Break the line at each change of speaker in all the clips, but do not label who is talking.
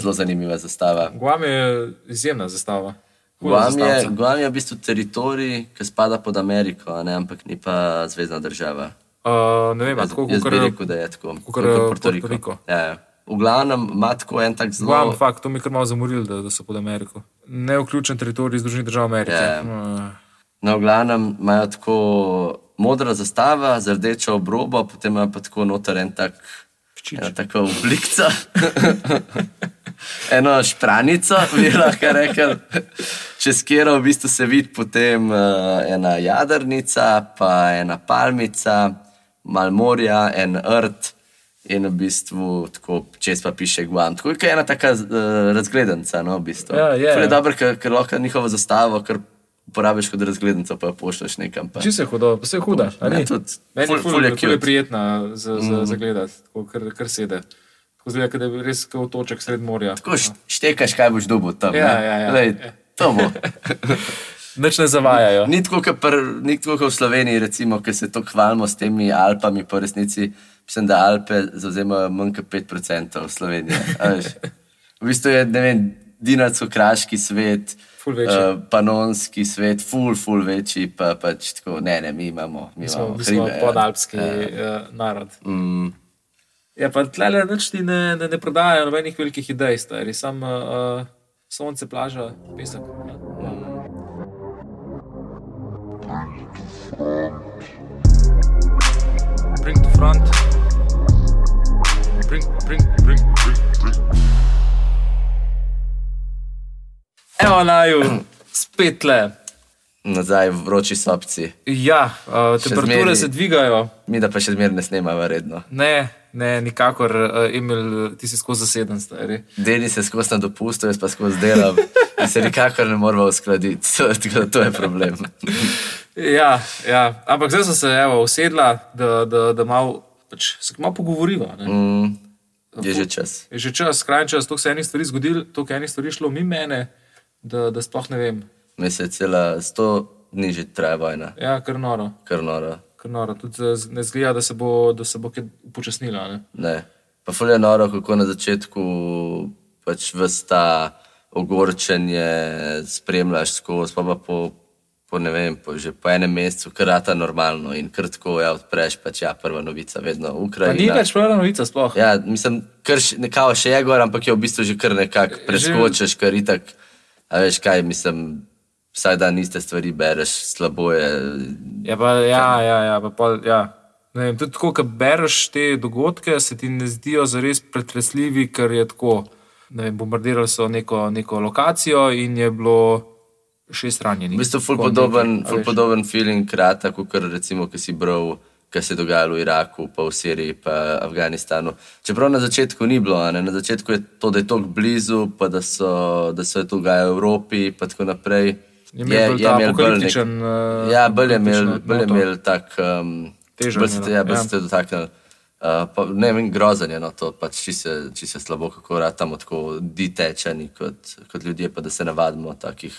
Zelo zanimiva zastava.
Guam je izjemna zastava. Huda
Guam je,
zastavica.
Guam je v bistvu teritorij, ki spada pod Ameriko, a ne? ampak ni pa zvezdna država.
Uh, ne vem, a
Jaz,
tako
jaz bi
kot
rekel, da je tako.
kakor,
Kakor
eh,
Porto
Porto Rico.
Ja, ja. v glavnem ima tako en tak zelo.
Guam, fakt, to mi je kar malo zamorilo, da, da so pod Ameriko. Neuključen teritorij Združenih držav Amerike.
Ja.
Uh,
No, v glavnem imajo tako modra zastava z rdečo obrobo, potem imajo pa tako noter en tak.
Pščič.
Ena taka oblica, eno špranico, bi lahko rekel, čez katero v bistvu se vidi potem uh, ena jadrnica, pa ena palmica, malo morja, en rt in v bistvu tako čez pa piše Guam. Tako je ena taka uh, razgledanca, no, v bistvu.
Ja, je.
Ful dobro, ker, ker lahko njihovo zastavo kar uporabiš kot razglednico, pa jo pošlješ nekam. Pa.
Če se hudo, pa se je huda. a ni?
Meni tudi.
Meni
Ja, Ful-
je
ful
ful,
je
ful, ful je
cute. Mhm.
prijetna za, za, za gledati, tako kar, kar sede. Tako zgleda, kot da je res kot otoček sred morja.
Tako št- štekaš, kaj boš dobil tam.
Ja,
ne.
ja, ja.
Glej, to bo.
Nič ne zavajajo.
Ni tako, kot pr- ni tako, kot v Sloveniji, recimo, ker se to hvalimo s temi Alpami, po resnici mislim, da Alpe zauzemajo manj kot 5% Slovenije. a veš. V bistvu je, ne vem, dinaco-kraški svet,
Ful večji.
eh, panonski svet, ful, ful večji, pa pač tako, ne, ne, mi imamo, mi
Smo,
imamo
mi smo
hribe.
podalpski eh, narod.
ja. Mm,
Ja, pa tlele nič ti ne, ne, ne prodajajo nobenih velikih idej, stari. Sam uh, sonce, plaža, pesek. Ja.
Bring to front. Bring, bring, bring, bring, bring.
Evo naju, spet le.
nazaj v vroči sopci.
Ja, uh, temperature
zmeraj.
se dvigajo.
Mi da pa še zmeraj ne snemamo redno.
Ne, ne, nikakor, uh, Emil, ti si skozi zaseden, stari.
Deli se skozi na dopustu, jaz pa skozi delam in se nikakor ne moramo uskladiti. Tako da to je problem.
Ja, ja. ampak zdaj sem se evo, usedla, da, da, da malo, pač, se malo pogovoriva. ne.
Mm, je že čas.
Je že čas, skrajni čas, toliko se je enih stvari zgodilo, toliko je enih stvari šlo mimo mene, da, da sploh ne vem.
Mesec cela 100 dni že traja vojna,
Ja, kar noro.
kar noro.
Kar noro. Tudi eh, z- ne zgleda, da se bo, da se bo kaj upočasnila. Ne?
Ne. Pa fulje noro, kako na začetku pač vsta ogorčenje spremljaš skozi, pa, pa po, po ne vem, po, že po enem mesecu krata normalno in krtko ja, odpreš, pač ja, prva novica, vedno
Pa
Ukrajina.
ni več prava novica sploh. Ja.
Ja, mislim, kar še, nekako še je gor, ampak je v bistvu že kar nekako preskočiš, kar itak. A veš kaj, mislim, vsak dan iste stvari bereš, slabo je.
Ja, pa, ja, ja, ja, pa pol, ja. Ne Vem, tudi tako, ko bereš te dogodke, se ti ne zdijo zares pretresljivi, ker je tako. Ne vem, bombardirali so neko, neko lokacijo in je bilo šest ranjenih.
V bistvu ful
Tako
podoben,
nekaj, a
ful
veš.
podoben feeling kratek, kot kar recimo, ki si bral, kaj se je dogajalo v Iraku, pa v Siriji, pa Afganistanu. Čeprav na začetku ni bilo, a ne? na začetku je to, da je tako blizu, pa da, so, da se to dogaja v Evropi, pa tako naprej.
Je
imel
imel bolj ta
bolj nek-
apokaliptičen, eh,
Ja, bolj je imel,
apokaliptično
bolj je
noto.
imel tak. Um,
Težo
bolj
je
ste,
imela,
ja, bolj
ja.
ste dotaknili. Uh, pa, ne vem, grozen je no, to, pač, če se, če se slabo, kako ratamo, tako ditečani kot, kot ljudje, pa da se navadimo takih.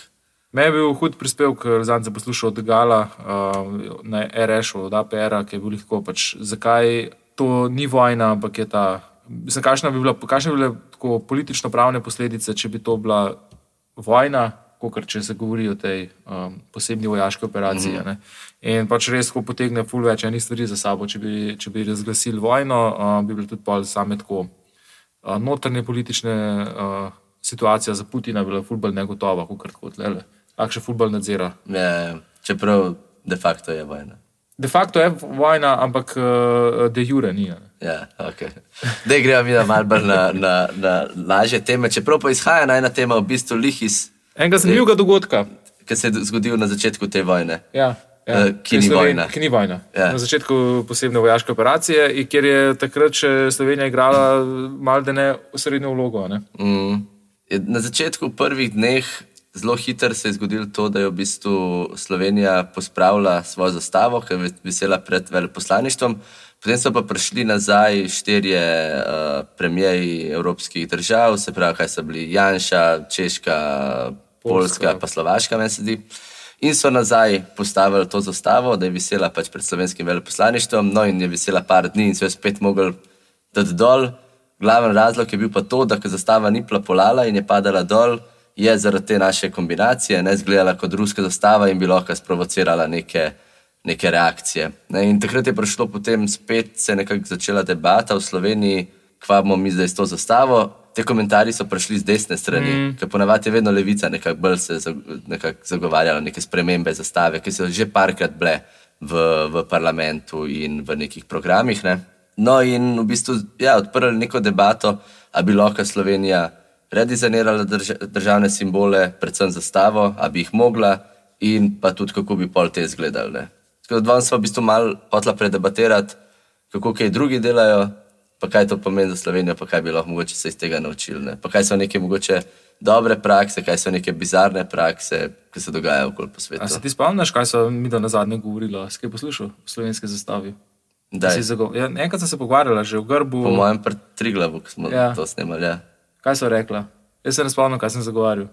Meni je bil hud prispevek, zadnjič sem poslušal od Gala uh, na RŠ-u, od APR-a, ki je bil tako, pač, zakaj to ni vojna, ampak je ta. Mislim, kakšna bi bila, kakšne bi bile tako politično-pravne posledice, če bi to bila vojna, kot če se govori o tej um, posebni vojaški operaciji. Mm -hmm. In pač res tako potegne ful več enih stvari za sabo. Če bi, če bi razglasili vojno, uh, bi bilo tudi pol same tako a, notranje politične a, situacija za Putina bila fulbol negotova, kot kot le. Lahko še fulbol nadzira.
Ne, čeprav de facto je vojna.
De facto je vojna, ampak a, de jure ni. a ne.
Ja, okay. Da gremo mi malo bolj na, na, na lažje teme, čeprav pa izhaja na ena tema v bistvu lih iz,
Enega zanimivega dogodka,
ki se je zgodil na začetku te vojne.
ja, ja,
Eh, ki
je
ni
Sloven-
vojna.
Ki ni vojna.
Ja.
Ja. Na začetku posebne vojaške operacije, in kjer je takrat še Slovenija igrala malce ne osrednjo vlogo. a Ne?
Mm. Je- Na začetku, v prvih dneh, zelo hitro se je zgodilo to, da je v bistvu Slovenija pospravila svojo zastavo, ki je ve- visela pred veleposlaništvom. Potem so pa prišli nazaj štirje uh, premijeji evropskih držav, se pravi, kaj so bili Janša, Češka, Poljska, Poljska pa Slovaška, meni se zdi. In so nazaj postavili to zastavo, da je visela pač pred slovenskim veleposlaništvom, no in je visela par dni, in so jo spet mogli dati dol. Glaven razlog je bil pa to, da ko zastava ni plapolala in je padala dol, je zaradi te naše kombinacije ne zgledala kot ruska zastava in bi lahko sprovocirala neke, neke reakcije. Ne, in takrat je prišlo potem spet se je nekako začela debata v Sloveniji, kva bomo mi zdaj s to zastavo. Te komentarji so prišli z desne strani, mm. ker ponavadi je vedno levica nekako bolj se za- nekako zagovarjala neke spremembe zastave, ki so že parkrat bile v, v parlamentu in v nekih programih. Ne. No, in v bistvu ja, odprli neko debato, ali bi lahko Slovenija redizajnirala drž državne simbole, predvsem zastavo, ali bi jih mogla, in pa tudi kako bi pol te izgledali. ne. Tako da danes smo v bistvu malo hotla predebatirati, kako kaj drugi delajo, pa kaj to pomeni za Slovenijo, pa kaj bi lahko mogoče se iz tega naučili. Ne? Pa kaj so neke mogoče dobre prakse, kaj so neke bizarne prakse, ki se dogajajo okoli po svetu.
A se ti spomniš, kaj so mi na zadnje govorila, skaj poslušal v slovenski zastavi?
Daj,
Si zago- Ja, enkrat sem se pogovarjala že v grbu.
po mojem, pri Triglavu, ko smo ja.
Ja.
to snemali. Ja.
Kaj so rekla? Jaz se ne spomnim, kaj sem zagovarjal.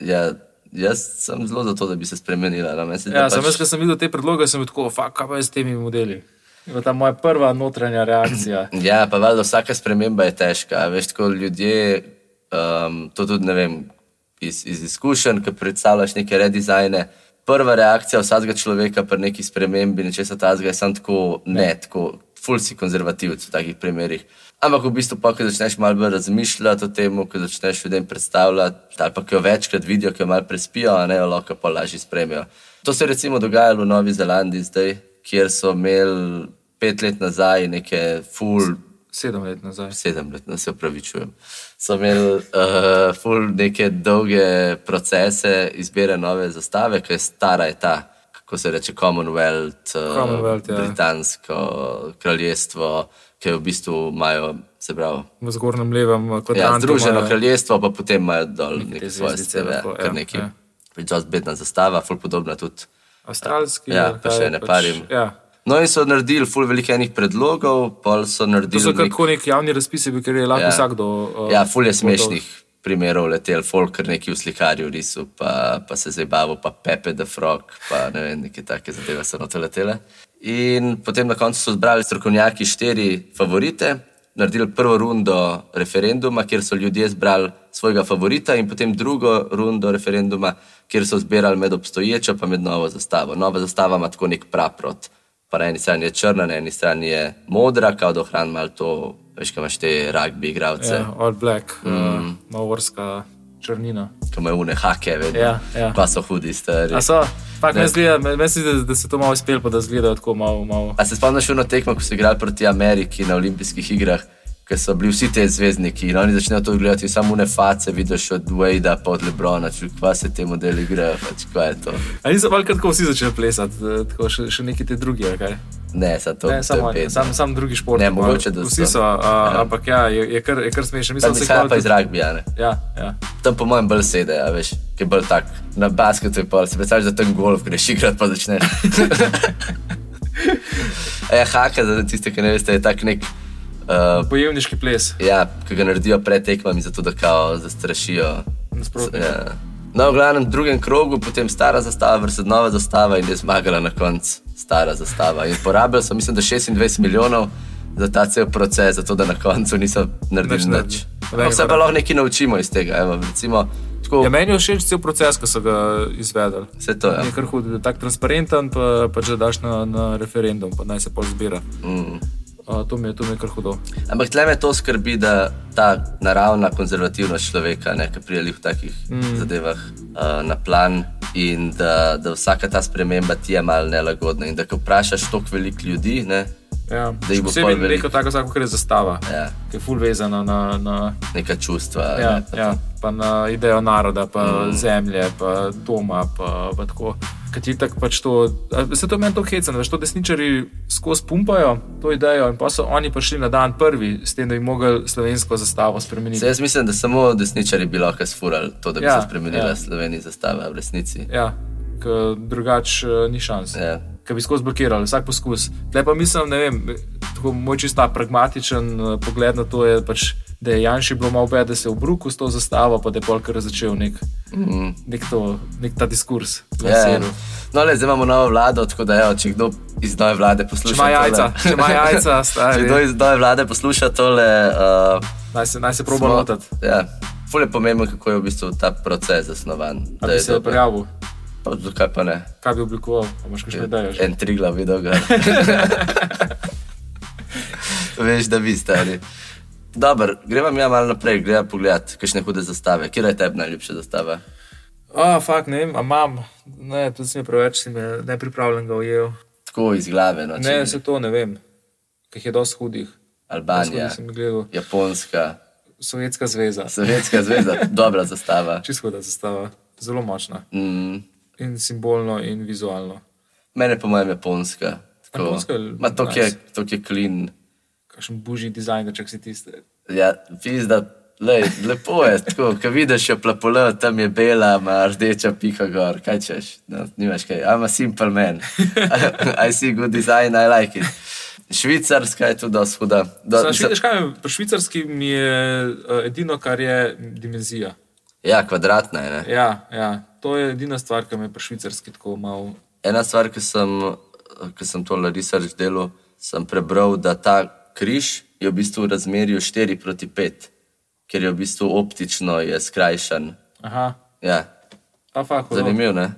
Ja, jaz sem zelo za to, da bi se spremenila. no, meni se zdi,
Ja,
da
sem
pač-
jaz, ker sem videl te predloge, sem bil tako, "Fuck, kaj pa je s temi modeli. Je bila ta moja prva notranja reakcija.
Ja, pa valjda vsaka sprememba je težka. a Veš, tako ljudje, um, to tudi ne vem, iz, iz izkušenj, ki predstavljaš neke redizajne. Prva reakcija vsakega človeka pri neki spremembi nečesa tazga je samo tako, ne, ne tako, ful si konzervativc v takih primerih. Ampak v bistvu, pa, ko začneš malo bolj razmišljati o tem, ko začneš ljudem predstavljati, ali pa ki jo večkrat vidijo, ki jo malo prespijo, a ne jo lahko pa lažje spremijo. To se je recimo dogajalo v Novi Zelandiji zdaj, kjer so imeli pet let nazaj neke ful
Sedem let nazaj.
sedem let, no, se upravičujem. So imeli uh, ful neke dolge procese izbire nove zastave, ki je stara je ta, kako se reče Commonwealth, uh,
Commonwealth, ja.
britansko kraljestvo, ki je v bistvu imajo, se pravi.
V zgornjem levem eh,
Ja,
kvadrantu.
Združeno
imajo-
kraljestvo, pa potem imajo dol neke svoje
zvezdice
steve,
lahko, ja,
kar neki.
ja.
Predost bedna zastava, ful podobna tudi
Avstralski.
Ja,
ali
pa
kaj,
še ene
pač-
parim.
Ja.
No, in so naredili ful veliko enih predlogov, pol so
To
naredili.
so kar
nek-
tako neki javni razpisi, bil, ker je lahko
Ja.
vsakdo. eh,
ja, ful je
podal.
smešnih primerov letel, ful kar neki v slikarju risu, pa, pa se zabaval, pa Pepe the Frog, pa ne vem, neke take zadeve so na to letele. In potem na koncu so zbrali strokovnjaki štiri favorite, naredili prvo rundo referenduma, kjer so ljudje zbrali svojega favorita, in potem drugo rundo referenduma, kjer so zbirali med obstoječo in med novo zastavo. Nova zastava ima tako nek praprot pa na eni strani je črna, na eni strani je modra, kao da ohrani malo to, veš, kaj imaš te rugby igralce,
Ja, all black, mm. uh, maorska črnina.
ki imajo une hake, vedno.
Ja, ja.
Pa so hudi stari.
A so, fakt, meni zgleda- meni se zdi, da se to malo izpel, pa da zgleda tako malo. malo.
A se spomniš eno tekmo, ko so igrali proti Ameriki na olimpijskih igrah, ker so bili vsi te zvezdniki in oni začnejo to gledati in samo une face, vidiš od Wadea pa od Lebrona, čuj, kva se te modeli igrajo, pač kva je to.
Ali niso valjda tako vsi začeli plesati, eh, tako še, še neki te drugi, ali kaj?
Ne, sad to,
Ne,
to
samo,
je pet.
sam, sam drugi šport.
Ne, mogoče, da so.
vsi so, a, ja. ampak ja, je, je kar, je kar smešno. Mislim,
Tam
da se
izhaja
hvala
pa iz
tudi-
rugbija, ne.
Ja, ja.
Tam po mojem bolj sede, a veš, ki je bolj tak. Na basketu je pa, si predstavljaš, da tam golf greš igrat, pa začneš. e, haka, za tiste, ki ne veste, je tak nek, uh,
Bojevniški ples.
ja, ki ga naredijo pred tekmami, zato da kao zastrašijo.
Nasprotnika.
Ja. No, v glavnem drugem krogu, potem stara zastava versus nova zastava in je zmagala na koncu stara zastava. In porabili so, mislim, da 26 milijonov za ta cel proces, zato da na koncu niso naredili
Nič
nič.
naredili.
nič. Ampak Se pa lahko nekaj naučimo iz tega. Evo, recimo, tako,
Ja, meni je všeč cel proces, ki so ga izvedli.
Vse to je. Ja.
Je kar hud, da je tako transparenten, pa, pa če daš na, na referendum, pa naj se pol zbira.
Mm.
A, to, mi je, to mi je kar hudo.
Ampak tle me to skrbi, da ta naravna konzervativnost človeka, ne, ki prijeli v takih mm. zadevah uh, na plan, in da, da vsaka ta sprememba ti je malo nelagodna. In da ko vprašaš toliko veliko ljudi, ne,
Ja.
Da jih bo
Posebej
pol veliko.
neko tako, vsako, kar je zastava,
ja,
ki je full vezana na, na,
neka čustva.
ja,
ne, pa
ja, pa na idejo naroda, pa mm. zemlje, pa doma, pa, pa tako. Ker ti tako pač to, a se to meni to hecen, veš, to desničari skozi pumpajo to idejo in pa so oni prišli na dan prvi, s tem, da bi mogli slovensko zastavo spremeniti.
Se jaz mislim, da samo desničari bi lahko sfurali to, da bi ja,
Ja,
se spremenila ja.
ja.
Slovenija zastava v resnici.
Ja, ker drugače eh, ni šans.
Ja.
Ki bi skozi blokirali vsak poskus. Tle pa mislim, ne vem, tako moj čista pragmatičen eh, pogled na to je, pač, da je Janši bilo malo bed, da se je obruku s to zastavo, pa da je polkar začel nek,
Mm.
nek, to, nek ta diskurs. na
Ja, ja.
seru.
No, le, zdaj imamo novo vlado, tako da evo, če kdo iz nove vlade posluša.
Če ima jajca,
tole-
če ima jajca,
Če
stari.
kdo iz nove vlade posluša tole, uh,
Naj se, naj se proba lotiti.
Ja, ful je pomembno, kako je v bistvu ta proces zasnovan.
Da bi
je
se
dober.
prijavil,
Pa Zakaj pa ne?
kaj bi oblikoval, a imaš
Ja.
kakšne ideje. ja, že?
En trigla video ga. Veš, da bi stari. Dober, gremo ja malo naprej, gremo pogledat, kakšne hude zastave. Kje je tebi najljubša zastava?
A, fakt, ne vem, a imam, ne, tudi sem je preveč, sem je nepripravljen ga ujel.
Tako iz glave, no,
Ne,
ne,
vse to ne vem, ker jih je dosti hudih. Dosti
Albanija,
hudih sem jih gledal.
Japonska,
Sovjetska zveza,
Sovjetska zveza, dobra zastava.
čisto da zastava, zelo močna
Mm.
in simbolno in vizualno.
Mene, po mojem, Japonska. Tako.
Japonska je
Ma to je,
nice.
to je klin.
Kakšen buži dizajnerček si tiste.
Ja, pizda, lej, lepo je, tako, ko vidiš jo plapola, tam je bela, ima rdeča pika gor, kaj češ, no, nimaš kaj, I'm a simple man, I see good design, I like it. Švicarska je tudi dosti huda. Do,
Znaš, vidiš, kaj me, pri švicarski mi je uh, edino, kar je dimenzija.
ja, kvadratna je. Ne?
Ja, ja, to je edina stvar, ki me pri švicarski tako malo.
Ena stvar, ki sem, ki sem to research delal, sem prebral, da ta križ je v bistvu v razmerju 4 proti 5, ker je v bistvu optično je skrajšan.
Aha,
Ja,
a fakt, hudo.
zanimivo, ne?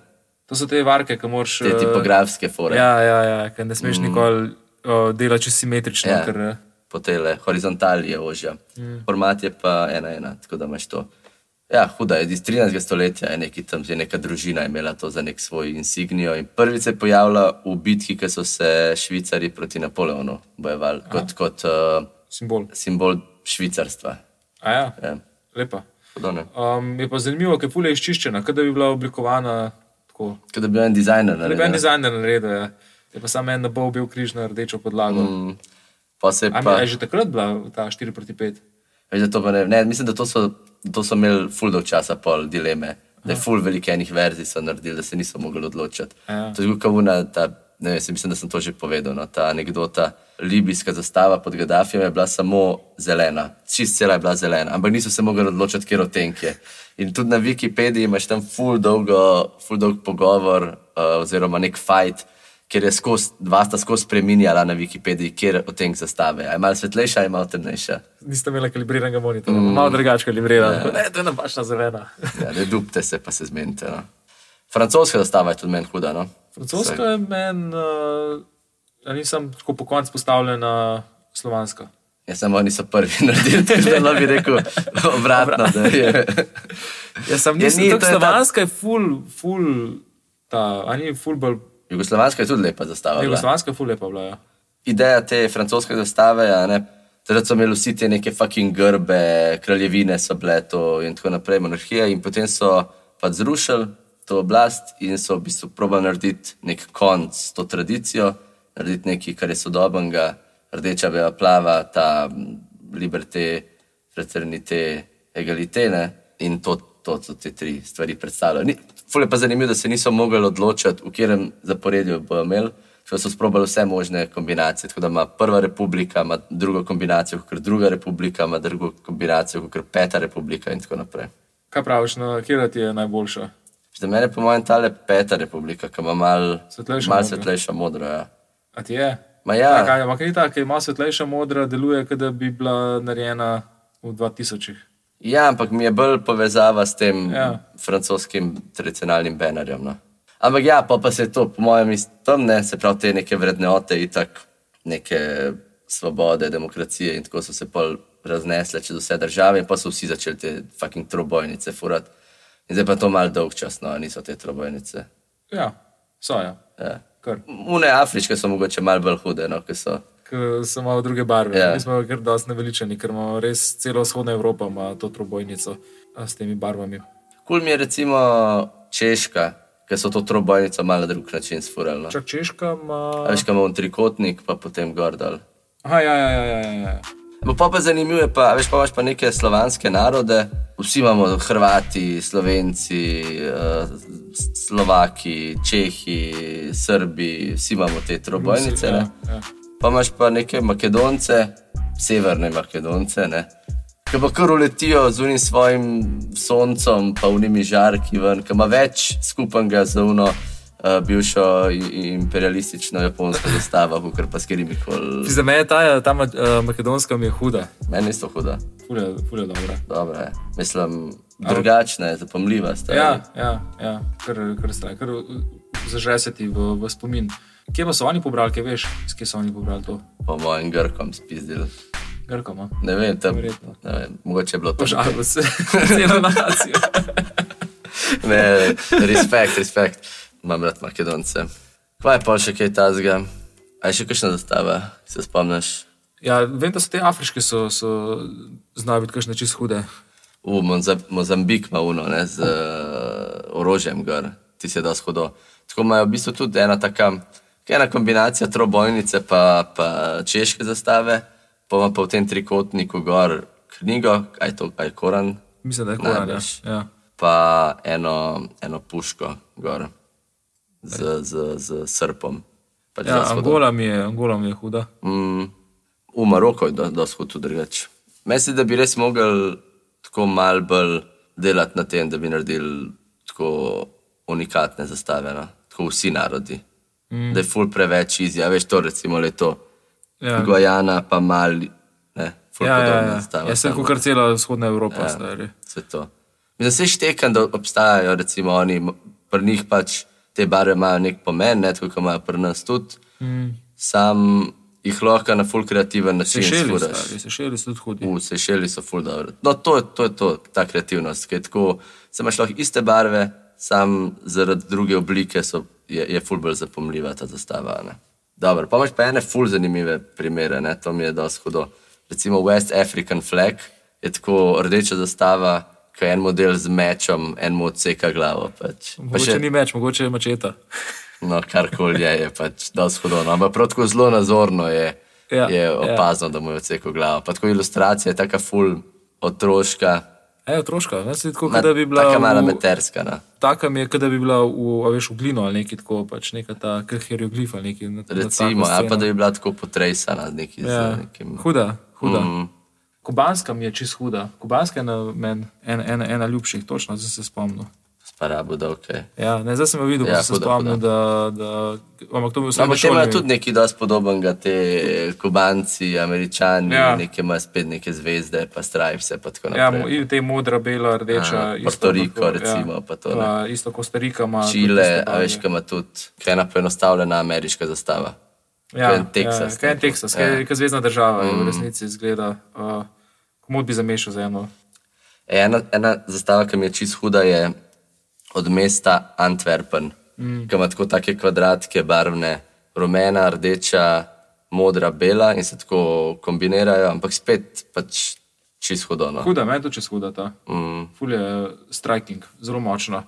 To so te varke, ki moraš.
Te
eh,
tipografske fore.
Ja, ja, ja ker ne smeš mm. nikoli uh, delati čisto simetrično.
Ja.
Ja. Ker, eh,
po tele horizontali je ožja. Mm. Format je pa ena, ena, tako da imaš to. Ja, huda je, iz 13. stoletja je neki tam že neka družina imela to za nek svoj insignijo in prvič se je pojavila v bitki, ki so se Švicari proti Napoleonu bojevali kot, kot uh,
simbol.
simbol švicarstva.
A ja,
Ja,
lepa.
podobno.
Um, je pa zanimivo, ker fulje je izčiščena, kot da bi bila oblikovana tako.
Kot da bi bil en dizajner
Lepo
naredil.
en
ne?
dizajner naredil, ja. je pa samo en nabov bil križ na rdečo podlago. Mm.
Mm, Pa se je
A
pa,
mi je že takrat bila ta 4 proti 5?
veš, da to pa ne, ne, mislim, da to so, to so imeli ful dolg časa, pol dileme, da je ful veliko enih verzij so naredili, da se niso mogli odločiti.
Ja.
To je zelo kavuna, ta, ne vem, saj mislim, da sem to že povedal. No, ta anekdota, libijska zastava pod Gaddafijem je bila samo zelena, čist cela je bila zelena, ampak niso se mogli odločiti, kje odtenek je. In tudi na Wikipediji imaš tam full, dolgo, full dolg pogovor, uh, oziroma nek fight, kjer je skozi, dva sta skozi spreminjala na Wikipediji, kjer odtenek zastave. A je malo svetlejša, a je malo temnejša.
Niste imeli kalibriranega monitorja, mm. malo drugače kalibriran.
Ja.
Ja. Ne, to je napačna zelena.
Ja, ne dubte se, pa se zmenite. No. Francoska zastava je tudi meni huda. No.
Francoska je meni, uh, a nisem tako po koncu postavljena slovanska.
Jaz Ja, samo oni so prvi naredili, tako da bi rekel obratno. da je-
Jaz sem
Ja,
nisem
ni,
tako
to je ta-
slovanska, je ful, ful, ta, a ni ful bolj.
Jugoslovanska je tudi lepa zastava. bila.
Jugoslovanska je ful lepa bila. Ja.
Ideja te francoske zastave, a ne, takrat so imeli vsi te neke fucking grbe, kraljevine so bile to in tako naprej, monarhije in potem so pač zrušili to oblast in so v bistvu probali narediti nek konc s to tradicijo, narediti nekaj, kar je sodobnega, rdeča bela plava, ta mm, liberté, fraternite, egalite. Ne? In to, to so te tri stvari predstavljale. Ni- Ful je pa zanimivo, da se niso mogli odločiti, v katerem zaporedju bojo imeli. Če so sprobali vse možne kombinacije, tako da ima prva republika, ima drugo kombinacijo, kot druga republika, ima drugo kombinacijo, kot peta republika in tako naprej.
Kaj praviš, no, kje ti je najboljša?
Za mene, po mojem, ta le peta republika, ki ima malo
Svetlejšo
mal
modro.
svetlejša modra. Ja.
A ti je?
Ma ja.
Taka, ampak ni tako, ima svetlejša modra, deluje, kot da bi bila narejena v 2000.
Ja, ampak mi je bolj povezava s tem ja.
Ja.
francoskim tradicionalnim bannerjem. No. Ampak ja, pa, pa se je to, po mojem, iz- tam ne, se pravi te neke vrednote, itak neke svobode, demokracije in tako so se pol raznesle čez vse države in pa so vsi začeli te fucking trobojnice furati. In zdaj pa to mal dolgčasno, no, a niso te trobojnice.
Ja, so ja.
Ja.
Kar.
Une afriške so mogoče malo bolj hude, no, ki so.
Ker so malo druge barve.
Ja.
Yeah. Mi smo kar dosti naveličani, ker imamo res celo vzhodna Evropa ima to trobojnico a, s temi barvami.
Kul mi je recimo Češka, ker so to trobojnico malo na drug način sfurali. No.
Čak Češka ima.
A Veš, kaj imamo trikotnik, pa potem gor dol.
Aha, ja, ja, ja, ja, ja, ja.
Bo pa pa zanimivo je, pa, a veš, pa imaš pa neke slovanske narode, vsi imamo Hrvati, Slovenci, eh, S- Slovaki, Čehi, Srbi, vsi imamo te trobojnice. Ne?
Ja, ja.
Pa imaš pa neke Makedonce, severne Makedonce, ne? ki pa kar uletijo z unim svojim soncem, pa unimi žarki ven, ki ima več skupnega z uno eh, bivšo i- i- imperialistično japonsko zastavo, kot pa s Kirimikol.
Za me je ta, ta ma- eh, makedonska mi je huda,
Meni je to huda.
fulja, fulja dobra.
Dobro je. Mislim, drugačna je, zapomljiva. stari.
Ja, ja, ja. kar, kar, stra- kar zažreseti v, v spomin. Kje pa so oni pobrali, kaj veš, s kje so oni pobrali to?
Po mojem grkom spizdil.
Grkom, a?
Ne vem, tam, ne
Verjetno.
vem, mogoče je bilo to.
Požalil se, celo nacijo.
Ne, respekt, respekt. Imam rad Makedonce. Kaj je pa še kaj tazga? A je še kakšna zastava, se spomniš?
Ja, vem, da so te afriške, so, so znajo biti kakšne čist hude.
V Moza- Mozambik ima uno, ne, z eh, orožjem gor, ti se da shodo. Tako imajo v bistvu tudi ena taka, ena kombinacija trobojnice pa, pa češke zastave, pa ima pa v tem trikotniku gor knjigo, aj to, aj koran,
Mislim, da je koran. Ja.
Najbrž.
Ja.
pa eno, eno puško gor z, z, z srpom. Pač
Ja,
za shodo.
Angola, mi je, Angola mi je huda.
Mm, v Maroku je dosti tudi drugače. Mislim, da bi res mogli tako mal bolj delati na tem, da bi naredili tako unikatne zastave, no? tako vsi narodi. Mm. Da je ful preveč izjave, veš, to recimo leto.
Ja,
Ja. Gojana pa mal, ne, ful
ja,
ja,
ja,
podobna
ja.
zastava.
ja sem
samo
kot kar cela vzhodna Evropa.
Ja.
Ja.
Vse to. Mislim, se štekam, da obstajajo, recimo, oni, m- pri njih pač te barve imajo nek pomen, ne tako kot imajo pri nas tudi. Mm. Sam jih lahko na full kreativen način
Sešeli,
izfuraš.
stari, sešeli so tudi hudi.
V Sešeli so full dobro. No, to, je- to je to, ta kreativnost, ki je tako, se imaš lahko iste barve, sam zaradi druge oblike so, je, je full bolj zapomljiva ta zastava. a Ne? Dobro, pa imaš pa ene full zanimive primere, ne? to mi je dosti hudo. Recimo West African flag je tako rdeča zastava, ki je en model z mečem, en mu odseka glavo. Pač. Pa
Mogoče
še,
ni meč, mogoče je mačeta.
no, karkoli je, je pač dosti hudo. No? Ampak prav tako zelo nazorno je, ja,
Ja,
je
ja.
opazno, ja. da mu je odsekal glavo. Pa tako ilustracija je taka ful otroška,
E, otroška, ne se tako,
ma-
kot da bi bila.
taka mala
v-
meterska. No?
Taka mi je, kot da bi bila v, a veš, v glino ali nekaj tako, pač neka ta hieroglif ali nekaj. Na,
Recimo, ja,
na
ali pa da bi bila tako potresena z, neki, ja.
Ja.
z nekim.
Huda, huda. Mm.
Mm,
Kubanska mi je čist huda. Kubanska je na meni en, en, ena ljubših, točno, zdaj se spomnim.
Sparabo, da ok.
Ja, ne, zdaj sem jo videl, ja,
Ja,
pa sem se
huda, No,
spomnil, da, da. Ampak to mi je vse
Ampak te imajo tudi nekaj dosti podobnega, te eh, kubanci, američani,
Ja.
ja. nekaj imajo spet neke zvezde, pa stripes, pa tako
Ja,
naprej.
mo- in te modra, bela, rdeča.
Aha,
isto
Portoriko,
tako,
recimo, pa to, ne.
Pa isto Kostarika ima. tudi
Čile,
iste
a veš,
barve.
kaj ima tudi, kaj je ena poenostavljena ameriška zastava.
Ja,
kaj je Teksas,
Ja, kaj je
ne?
Teksas,
Ja.
kaj je zvezdna država, mm. v resnici izgleda. Uh, Komod bi zamešal za eno.
Ena, ena zastava, ki mi je čist huda, je od mesta Antwerpen, mm. ki ima tako take kvadratke, barvne, rumena, rdeča, modra, bela in se tako kombinirajo, ampak spet pač čist hudo. No,
Huda, meni je to čez huda ta. Mm. Ful je striking, zelo močna.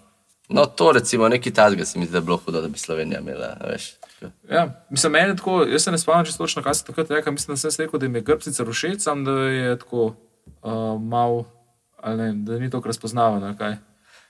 no to recimo neki tasga se mi zdi, da bi bilo hudo, da bi Slovenija imela. a Veš, tako.
Ja, mislim, meni je tako, jaz se ne spomnim čisto točno, kaj se takrat reče. Mislim, da sem se rekel, da mi je grbsica rušeč, sam da je tako uh, mal, ali ne, vem, da ni tako razpoznavana. ali Kaj.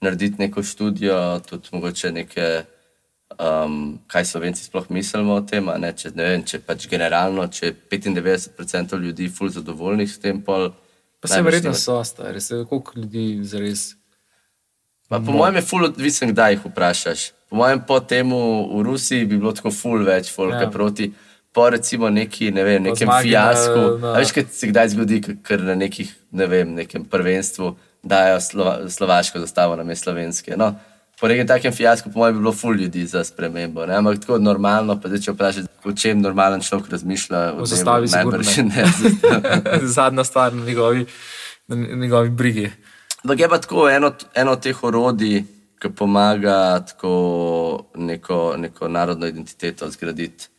narediti neko študijo, tudi mogoče neke, um, kaj slovenci sploh mislimo o tem. a Ne? Če, ne vem, če pač generalno, če je 95% ljudi ful zadovoljnih s tem, pol.
Pa se
najbrž
verjetno
nima-
so, stari, se koliko ljudi zares.
Pa po mojem je ful odvisen, kdaj jih vprašaš. Po mojem po temu v Rusiji bi bilo tako ful več folka
Ja.
ja. proti. Po recimo neki, ne vem, nekem
zmagi na-
fiasku.
na-
Na... Veš, kaj se kdaj zgodi, ko- ker na nekih, ne vem, nekem prvenstvu dajo slova, slovaško zastavo na mesto slovenske. No, po nekem takem fiasku, po mojem, bi bilo ful ljudi za spremembo. Ne? Ampak tako normalno, pa zdaj če vprašaš, o čem normalen človek razmišlja, o tem
zastavi sigurno
najbrž
ne.
ne. zastavi.
Zadnja stvar na njegovi, na njegovi brigi.
Ampak je pa tako eno, eno od teh orodij, ki pomaga tako neko, neko narodno identiteto zgraditi.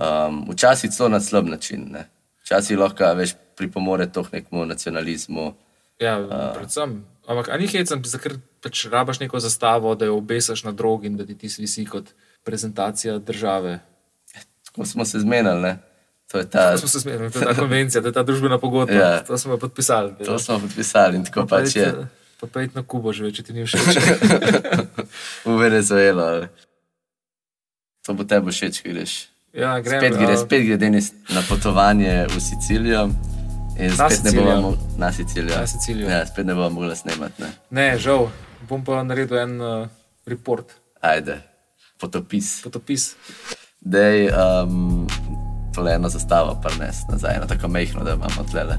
Um, včasih celo na slab način. Ne? Včasih lahko a veš, pripomore to k nekemu nacionalizmu.
Ja, predvsem. Ampak a ni hecam, ker pač rabaš neko zastavo, da jo obesaš na drog in da ti ti svisi kot prezentacija države.
Tako smo se zmenili, ne? To je ta,
To smo se zmenili, to je ta konvencija, to je ta družbena pogodba,
Ja.
ja. to smo jo podpisali.
to smo podpisali in tako pač je.
Pa pojdi na Kubo, že več če ti ni všeč.
v Venezuelo. ali. To bo tebi všeč, ko greš.
Ja, grem,
Spet gre,
a-
spet gre Denis na potovanje v Sicilijo. In
Na
spet ne bomo
Sicilijo.
mogli na Sicilijo.
Na Sicilijo.
Ja, spet ne bomo mogli snemati. Ne?
Ne, žal, bom pa naredil en uh, report,
Ajde, potopis.
potopis.
Dej, um, tole eno zastavo prnes nazaj, eno tako mehko, da imamo tlele,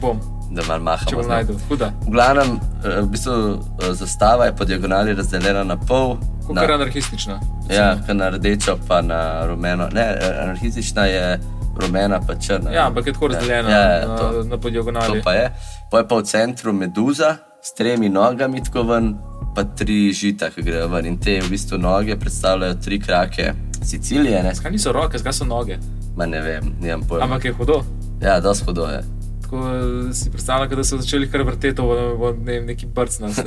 Bom,
da malo mahamo.
če
z
bom
njo.
najdel. Huda.
V glavnem, eh, v bistvu eh, zastava je po diagonali razdeljena na pol.
Kako
na-
je anarhistična.
Ja, ker na rdečo, pa na rumeno. Ne, anarhistična je rumena, pa črna.
Ja, ampak je tako razdeljena
Ja,
ja,
ja,
na,
to-
na
To
podjagonali.
pa je. Pa je pa v centru meduza s tremi nogami, tako ven, pa tri žita, ki grejo ven. In te v bistvu noge predstavljajo tri krake Sicilije, ne,
Zakaj niso roke, zakaj so noge?
Ma ne vem, nimam pojma.
Ampak je hudo.
Ja, dosti hodo je.
Tako eh, si predstavljam, kot da so začeli kar vrteti v, v ne, vem, neki brcnati.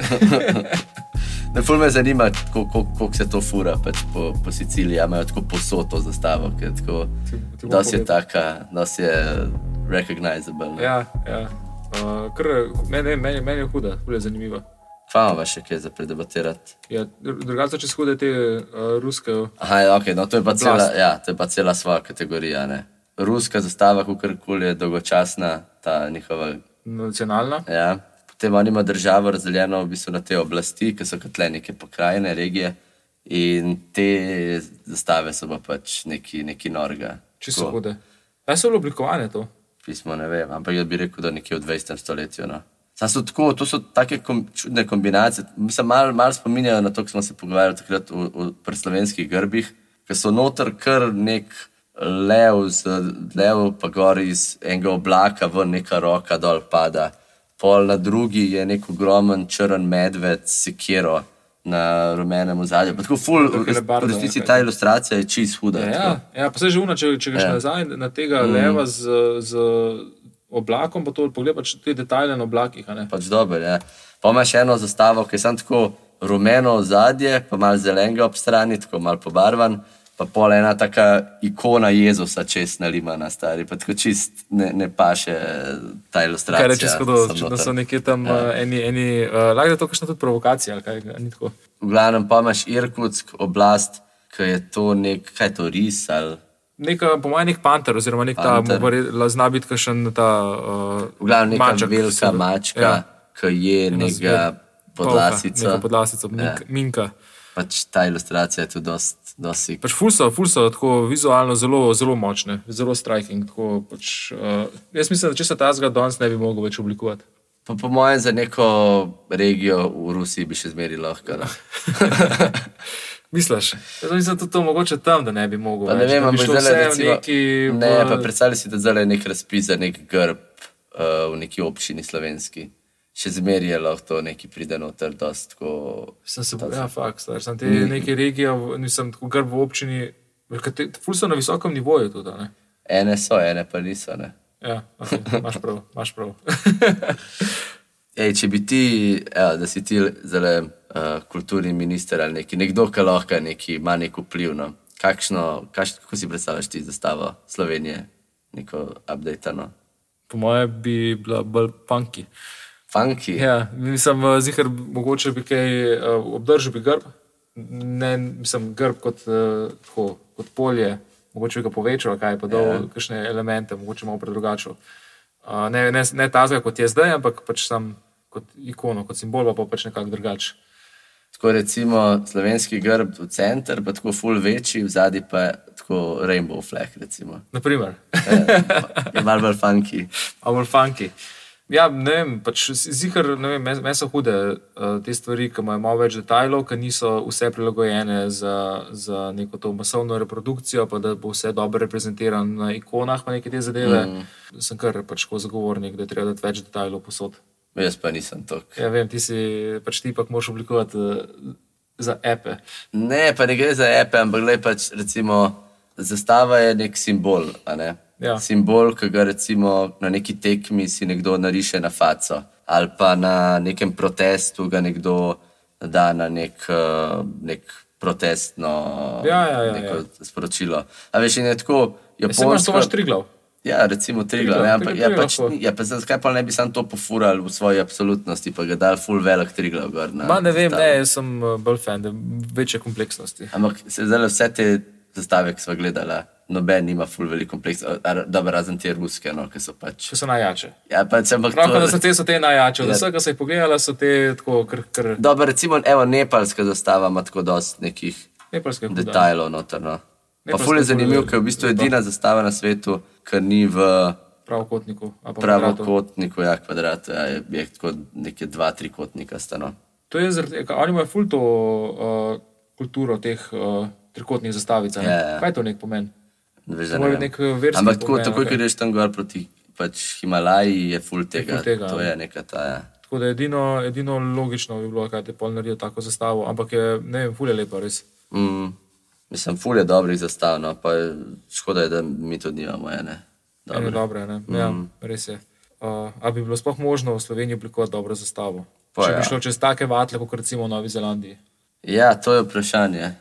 Ne, ful me zanima, kako kol, kol se to fura pač po, po Siciliji, a imajo tako posoto zastavo, ki je tako,
Ti- ti bom
dosti je
povedal.
taka, dosti je recognizable. ne.
ja, ja. Uh, kar, meni, meni, meni je huda, huda je zanimiva.
Kva ima še kaj za predebatirati?
Ja, dru- drugače, če shude te uh, ruske,
Aha, ja, okay, no, to, je pa cela,
Oblast.
ja, to je pa cela svoja kategorija. Ne? Ruska zastava, kako koli je dolgočasna, ta njihova.
nacionalna.
Ja. Potem oni imajo državo razdeljeno v bistvu na te oblasti, ki so kot le neke pokrajine, regije. In te zastave so pa pač neki, neki norga.
Čisto
Tako,
hude. Kaj so bile oblikovane to?
Pismo ne vem, ampak jaz bi rekel, da nekje v 20. stoletju. No. Sam so tako, to so take kom, čudne kombinacije. Mislim, malo mal spominjajo na to, kar smo se pogovarjali takrat o, o pri slovenskih grbih, ker so noter kar nek lev, z, lev pa gor iz enega oblaka, v neka roka dol pada. Pol na drugi je nek ogromen črn medved, sekiro na rumenem zadju. Tako ful,
Tako
v res- v
leoparda,
resnici
nekaj.
ta ilustracija je čist huda. tako.
Ja, ja, pa se že una, če, če greš
Ja.
ja. nazaj na tega mm. leva z, z oblakom, pa to pogledaš pač te detajle na oblakih. a ne.
pač dober. Ja. Pa imaš eno zastavo, ki je samo tako rumeno zadje, pa malo zelenega ob strani, tako malo pobarvan, pa pol ena taka ikona Jezusa čez nalima na stari, pa tako čist ne, ne paše eh, ta ilustracija.
Kaj reče,
sem
da
noter.
so nekje tam ja. uh, eni, eni uh, lahko je to kakšna tudi provokacija ali kaj, ni tako.
V glavnem pa imaš Irkutsk oblast, ki je to nek, kaj je to ris ali.
Neka, po mojem, nek panter, oziroma nek ta,
Panter.
more- la- zna biti kakšen ta. eh,
V glavnem neka
Maček,
Maček, velika
seveda.
mačka, ja.
Ja.
ki je
zver.
nekega podlasica.
Neka podlasica,
Ja.
ja. minka.
Pač ta ilustracija je tu dosti.
Pač ful so, ful so tako vizualno zelo, zelo močne, zelo striking. Tako, pač, uh, jaz mislim, da če se ta zgolj danes ne bi mogel več oblikovati.
Pa po mojem, za neko regijo v Rusiji bi še zmeri lahko. No.
Misliš? Jaz mislim, da tudi to mogoče tam, da ne bi mogel.
Pa ne
več,
vem,
da bi
ampak
šlo
zdaj
vse v
recimo,
neki.
ne,
v-
pa predstavljaj si, da zdaj je nek razpis za nek grb uh, v neki občini slovenski. Še zmeri je lahko to neki pride noter, dosti tako.
Sem se bojal, ja, fakt, star, sem te neke regije, v- nisem tako grb v občini. kate- Ful so na visokem nivoju tudi, a ne?
Ene so, ene pa niso. Ne.
Ja, okay, imaš prav, imaš prav.
Ej, če bi ti, evo, da si ti zelo uh, kulturni minister ali neki, nekdo, ki lahko neki, ima nek vpliv. No. Kakšno, kakš, kako si predstavljaš ti zastavo Slovenije, neko updatano?
po mojem bi bila bolj punki.
Funky.
Ja, mislim, zihar mogoče bi kaj eh, obdržal bi grb. Ne, mislim, grb kot, eh, tako, kot polje, mogoče bi ga povečal, kaj pa dol, yeah. kakšne elemente, mogoče malo predrugačil. Uh, ne, ne, ne tazga, kot je zdaj, ampak pač sam kot ikono, kot simbol, pa pač nekako drugače.
Tako recimo slovenski grb v center, pa tako full večji, v zadnji pa tako rainbow flag. Recimo.
Naprimer,
Eh, Je malo bolj funky.
ali funky. Ja, ne vem, pač zihar, ne vem, meni- meni so hude eh, te stvari, ki imajo malo več detajlov, ki niso vse prilagojene za, za neko to masovno reprodukcijo, pa da bo vse dobro reprezentirano na ikonah, pa neke te zadeve. Mm. Sem kar pač ko zagovornik, da je treba dati več detajlov posod.
Jaz pa nisem tok.
Ja, vem, ti si pač ti pa moraš oblikovati eh, za epe.
Ne, pa ne gre za epe, ampak le pač recimo zastava je nek simbol. a Ne?
Ja.
Simbol, ki ga recimo na neki tekmi si nekdo nariše na faco ali pa na nekem protestu ga nekdo da na nek, eh, nek protestno
Ja, ja, ja,
neko
ja.
sporočilo. A veš, in je tako,
Se imaš, to
Japonsko...
imaš tri glav.
Ja, recimo Triglav,
Triglav,
ne, ampak ja,
Triglav
pač,
lahko.
ni- ja, pa zdaj, zakaj pa ne bi sam to pofurali v svoji absolutnosti, pa ga dal full velik Triglav gor. Na,
Ma ne vem,
zastavo?
ne, jaz sem eh, bolj fan da večje kompleksnosti.
Ampak se zdaj vse te zastave, ki smo gledali, noben nima full velik kompleks, a- a- dobro, razen te ruske, no, ki so pač.
Če so najjače.
Ja, pač ampak
Pravno, da
to,
so te, so te najjače. Od
Ja.
vsega se je pogledala, so te tako kr, kr
dobro, recimo, evo, nepalska zastava ima tako dosti nekih
nepalske huda.
detajlov notrno. Pa
Nepalska
ful je zanimiv,
huda.
ker je v bistvu edina zastava na svetu, ki ni v
Pravokotniku. a pa kvadratu.
pravokotniku, ja, kvadratu, ja, je, je tako neke dva, tri kotnika no. stano.
To je zaradi, eh, ka- oni imajo ful to uh, kulturo teh uh, trikotnih zastavic. a ne?
Ja, ja.
Kaj to nek pomen?
Veš, da
To mora
ne vem.
biti nek eh, verski
Ampak tako,
pomen,
takoj,
ok.
ko greš tam gor proti pač Himalaji, je full tega.
ful tega,
to
ja.
je neka ta. Ja.
Tako da edino, edino logično bi bilo, kaj te pol naredijo tako zastavo, ampak je, ne vem, fulje lepa res.
Mm, mislim, full je dobrih zastav, no, pa je, škoda je, da mi to nimamo. ja, Ene.
Ene
Dobro. Mm.
dobre, ne? Ja, res je. Uh, a bi bilo sploh možno v Sloveniji oblikovati dobro zastavo?
Pa
Če
ja.
bi šlo čez take vatle, kot recimo v Novi Zelandiji.
Ja, to je vprašanje.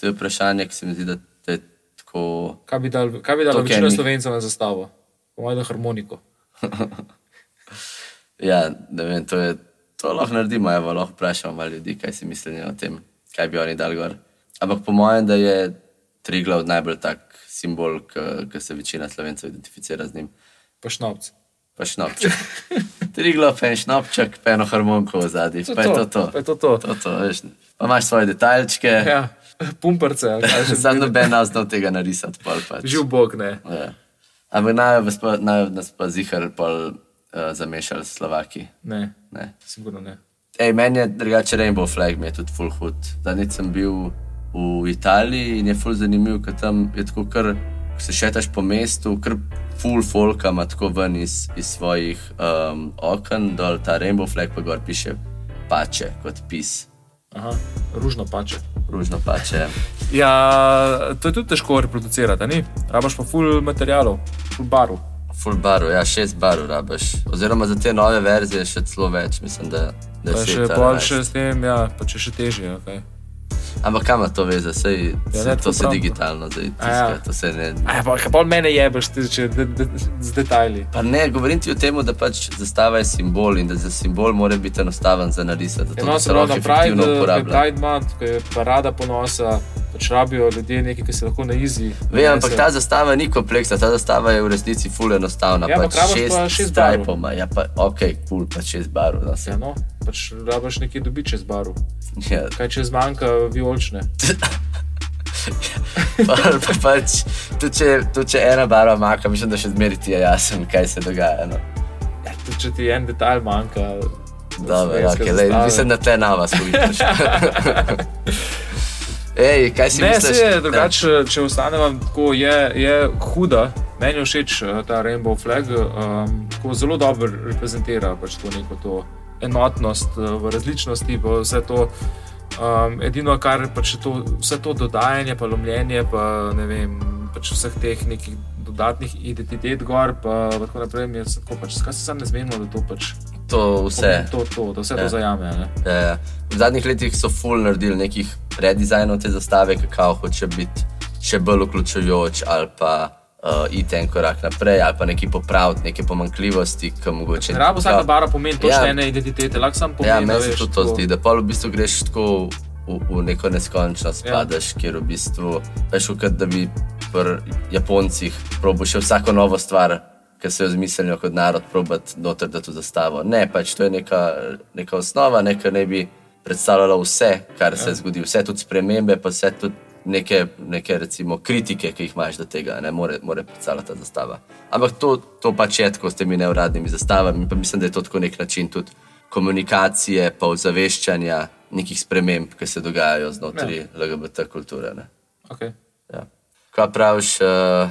To je vprašanje, ki se mi zdi, da te tako.
Kaj bi dal, kaj bi dal
To
večina
Kenny.
slovencev na zastavo? Po mojem, da harmoniko.
Ja, ne vem, to, je, to lahko naredimo, evo, lahko vprašamo malo ljudi, kaj si mislijo o tem, kaj bi oni dal gor. Ampak po mojem, da je Triglav najbolj tak simbol, ki se večina slovencev identificira z njim.
Pa šnopci.
Pa šnopček. Triglav, pa en šnopček, pa eno harmoniko v zadnji. Pa je to to.
Pa je to to.
to, to veš. Pa imaš svoje detaljčke,
Ja, pumprce. ali
ja,
kaj že.
sam noben nas do tega narisati. Pol, pač.
Živ bog ne.
Ja. Ampak naj vas pa- naj nas pa zihar pol uh, zamešali s Slovaki.
Ne,
Ne.
sigurno ne.
Ej, meni je drugače Rainbow Flag, mi je tudi full hud. Zadnjič sem bil v Italiji in je full zanimiv, ker tam je tako kar, ko se šetaš po mestu, kar full folka ima tako ven iz, iz svojih um, oken, dol ta Rainbow Flag pa gor piše pače, kot pis,
Aha, ružno pač. pače.
ružno pače.
Ja, to je tudi težko reproducirati, a ni? Rabaš pa full materialov, full barov.
Full baru, ja, šest baru rabiš. Oziroma za te nove verzije še celo več, mislim, da, da
Pa
je
še pol še s tem, ja, pa če še težje. Okay.
Ampak kam ima to veze, sej, ja,
ne,
sej, to
tako
se
prav.
digitalno zdaj tiska,
A
ja.
ja.
to se ne.
Aj, pa, pol mene jebeš ti, če de, de, z detajli.
Pa ne, govorim ti o tem, da pač zastava je simbol in da za simbol mora biti enostaven za narisati. Zato, da
Enotno
se
se
lahko
rada Pride,
efektivno
eh,
uporablja.
Pride Month, ko je parada ponosa, pač rabijo ljudje nekaj, ki se lahko na izi.
Vem, ampak ta zastava ni kompleksna, ta zastava je v resnici ful enostavna.
Ja,
pač
ampak rabaš pa šest barv.
stripoma, ja pa ok, kul cool, pa šest barv. No,
Ja,
se,
no, pač rabiš nekaj dobič čez baru.
ja.
Kaj če zmanjka vijolčne?
pa, pa, pač, tudi, če, tudi če ena barva manjka, mislim, da še zmeri ti je jasno, kaj se dogaja. No.
Ja, tudi če ti en detajl manjka.
Dobro, ja,
slovenske
okay, lej,
zastave.
mislim, da te nava spojiš. Ej, kaj si
Ne,
misliš? ja.
se je drugače, če ostaneva tako, je, je huda. Meni je všeč eh, ta Rainbow Flag, um, tako zelo dobro reprezentira pač to neko to enotnost eh, v različnosti, pa vse to. Um, edino, kar pač je to, vse to dodajanje, pa lomljenje, pa ne vem, pač vseh teh nekih dodatnih identitet, gor, pa, pa tako naprej, mi je vse tako pač, skaj se sam ne zmenimo, da to pač
Ja, to vse.
To, to, da vse
Ja.
to zajame. a Ne?
Eh, v zadnjih letih so full naredili nekih redizajnov te zastave, kako hoče biti še bolj vključujoč ali pa uh, iti en korak naprej ali pa nekaj popraviti, neke pomankljivosti, ki mogoče.
Ne rabo vsaka bara pomeni
Ja.
točne ene identitete, lahko sam pomeni.
Ja,
da
meni se
veš,
tudi to
tako.
zdi, da pa v bistvu greš tako v, v neko neskončnost,
Ja.
padeš, kjer v bistvu veš, kot da bi pri Japoncih probo še vsako novo stvar. Ki so jo izmislili kot narod, probati noter, da to zastavo. Ne, pač to je neka, neka osnova, nekaj ne bi predstavljalo vse, kar se zgodi, vse tudi spremembe, pa vse tudi neke, neke recimo, kritike, ki jih imaš do tega, ne more, more predstavljati ta zastava. Ampak to, to pač je tako s temi neuradnimi zastavami, pa mislim, da je to tako nek način tudi komunikacije, pa ozaveščanja nekih sprememb, ki se dogajajo znotraj ja. LGBT kulture. Ne?
Okay.
Ja. Kaj praviš, uh,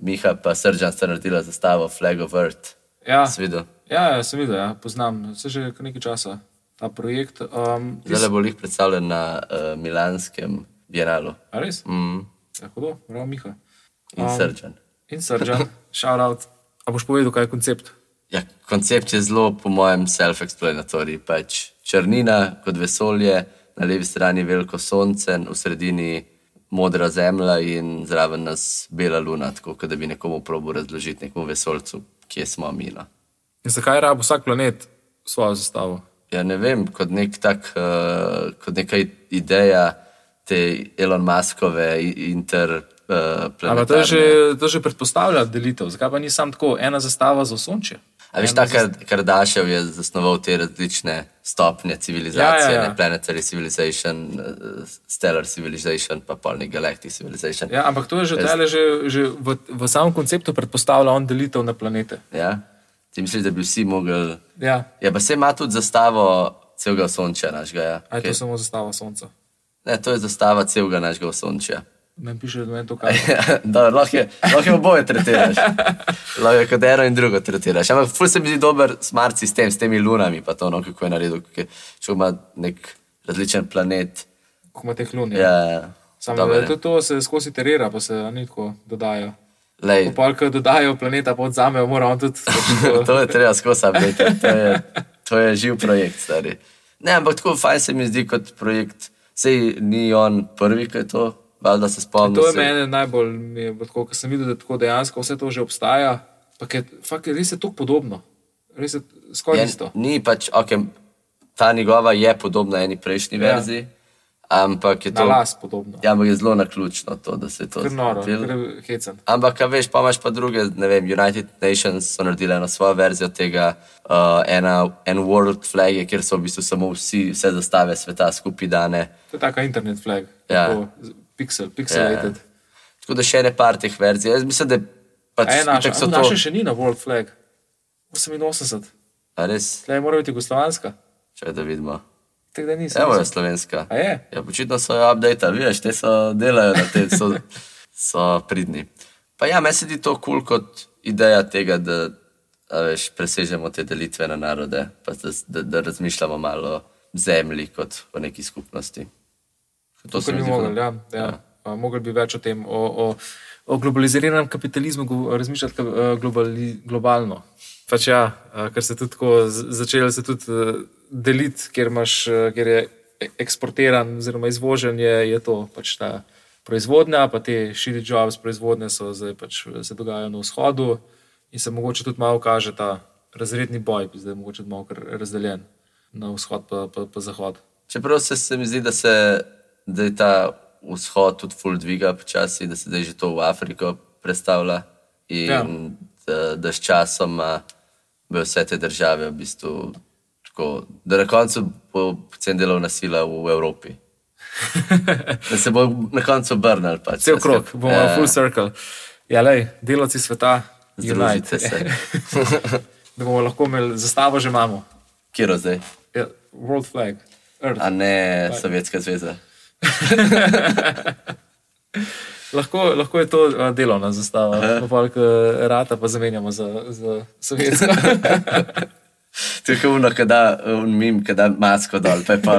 Miha, pa sržan sta naredila zastavo Flag of Earth,
Ja,
svido.
ja, ja, sem videl, ja, poznam, se že kar nekaj časa ta projekt. Um,
Zdaj bo jih predstavljen na uh, Milanskem bienalu
A res?
mm.
Ja, hudo, prav Miha.
in um. sržan.
In Sržan, shout out. A boš povedal, kaj je koncept?
Ja, koncept je zelo, po mojem, self-explanatory. Pač črnina kot vesolje, na levi strani veliko sonce, v sredini modra zemlja in zraven nas bela luna, tako kot da bi nekomu probo razložiti, nekomu vesolcu, kje smo mi. No.
In zakaj rabi vsak planet svojo zastavo?
Ja, ne vem, kot, nek tak, uh, kot neka i- ideja te Elon Muskove inter. Uh,
Ampak to, je že- to že predpostavlja delitev. Zakaj pa ni samo tako ena zastava za sonce?
A
Ja,
veš, ta Kar- Kardashev je zasnoval te različne stopnje civilizacije,
Ja,
ja,
ja,
ja,
ja.
ja. planetary civilization, eh, stellar civilization, pa polni galactic civilization.
Ja, ampak to je že, tale že, že v, v samem konceptu predpostavlja on delitev na planete.
Ja? Ti misliš, da bi vsi mogli.
Ja,
Ja, pa se ima tudi zastavo celega sončja našega. Ja?
a je to
Okej.
samo zastava sonca.
Ne, to je zastava celega našega sončja.
Ne piše, da je to
Ja.
kaj.
Dobro, lahko, je- lahko je oboje tretiraš. lahko je kot eno in drugo tretiraš. Ampak ful se mi zdi dober smart sistem s temi lunami, pa to, no, kako je naredil, kako je- če ima nek različen planet.
Ko ima teh lun. Ja.
Ja,
Samo
dober
da
je.
to, to se skozi terera, pa se a ni tako dodaja.
Lej,
Polk dodajo planeta, pa odzamejo, mora on tudi.
to je treba skozi update. To, je- to je živ projekt, stari. Ne, ampak tako fajn se mi zdi kot projekt. Sej ni on prvi, ki je to, valjda se spomnim.
To je
se-
meni najbolj, mi je bilo tako, ker sem videl, da tako dejansko vse to že obstaja. Pa je, fakt, je res je tako podobno, res je skoraj
je,
isto.
ni pač, okay, ta njegova je podobna eni prejšnji ja.
Ja.
verziji, ampak je
Na
to.
las podobno. Ja,
Ja, ampak je zelo naključno to, da se je to
Kar noro,
zgodilo.
kar je hecen.
Ampak, kaj veš, pa imaš pa druge, ne vem, United Nations so naredili eno svojo verzijo tega, uh, ena, en world flag, je, kjer so v bistvu samo vsi, vse zastave sveta skupaj dane.
To je taka internet flag,
Ja.
tako, z- pixel, pixelated. Ja.
Tako da še ne par teh verzij. Jaz mislim, da je pač
A je naša,
itak
a, naša še ni na world flag, 88,
A res,
tle mora biti jugoslovanska,
če da vidimo.
tako da nisem.
Evo je
mislil.
slovenska.
A je?
Ja, očitno so jo updated, veš, te so delajo na tem, so, so pridni. Pa ja, meni se zdi to kul cool kot ideja tega, da a veš, presežemo te delitve na narode, pa da, da, da razmišljamo malo o zemlji kot o neki skupnosti.
To
se
se
mi
bi
zdi
mogli,
fajn.
ja. ja. ja. Mogli bi več o tem, o, o, o globaliziranem kapitalizmu gov- razmišljati ka- eh, globali, globalno. Pač ja, eh, ker se tudi tako z- začelo se tudi eh, deliti, ker, imaš, eh, ker je e- eksportiran oziroma izvožen je, je to pač ta proizvodnja, pa te širi jobs proizvodnje so zdaj pač eh, se dogajajo na vzhodu in se mogoče tudi malo kaže ta razredni boj, ki je zdaj mogoče malo kar razdeljen na vzhod pa, pa, pa zahod.
Čeprav se, se mi zdi, da se zdaj ta vzhod tudi ful dviga počasi, da se zdaj že to v Afriko predstavlja. In
Ja.
ja. da, da s časom a, bojo vse te države v bistvu tako, da na koncu bo cen delovna sila v Evropi. da se bo na koncu obrnil. Pač,
Cel
vse
krog,
skupaj.
bomo
Ja,
full circle. Ja, lej, delavci sveta,
Združite
unite.
se.
da bomo lahko imeli zastavo, že imamo.
Kjer zdaj?
Ja, world flag, Earth.
A ne Sovjetska zveza.
Lahko, lahko je to a, delovna zastava, ampak eh, rata pa zamenjamo za, za sovjetsko.
To je kot uno, ki da un mim, ki da masko dol, pa je pa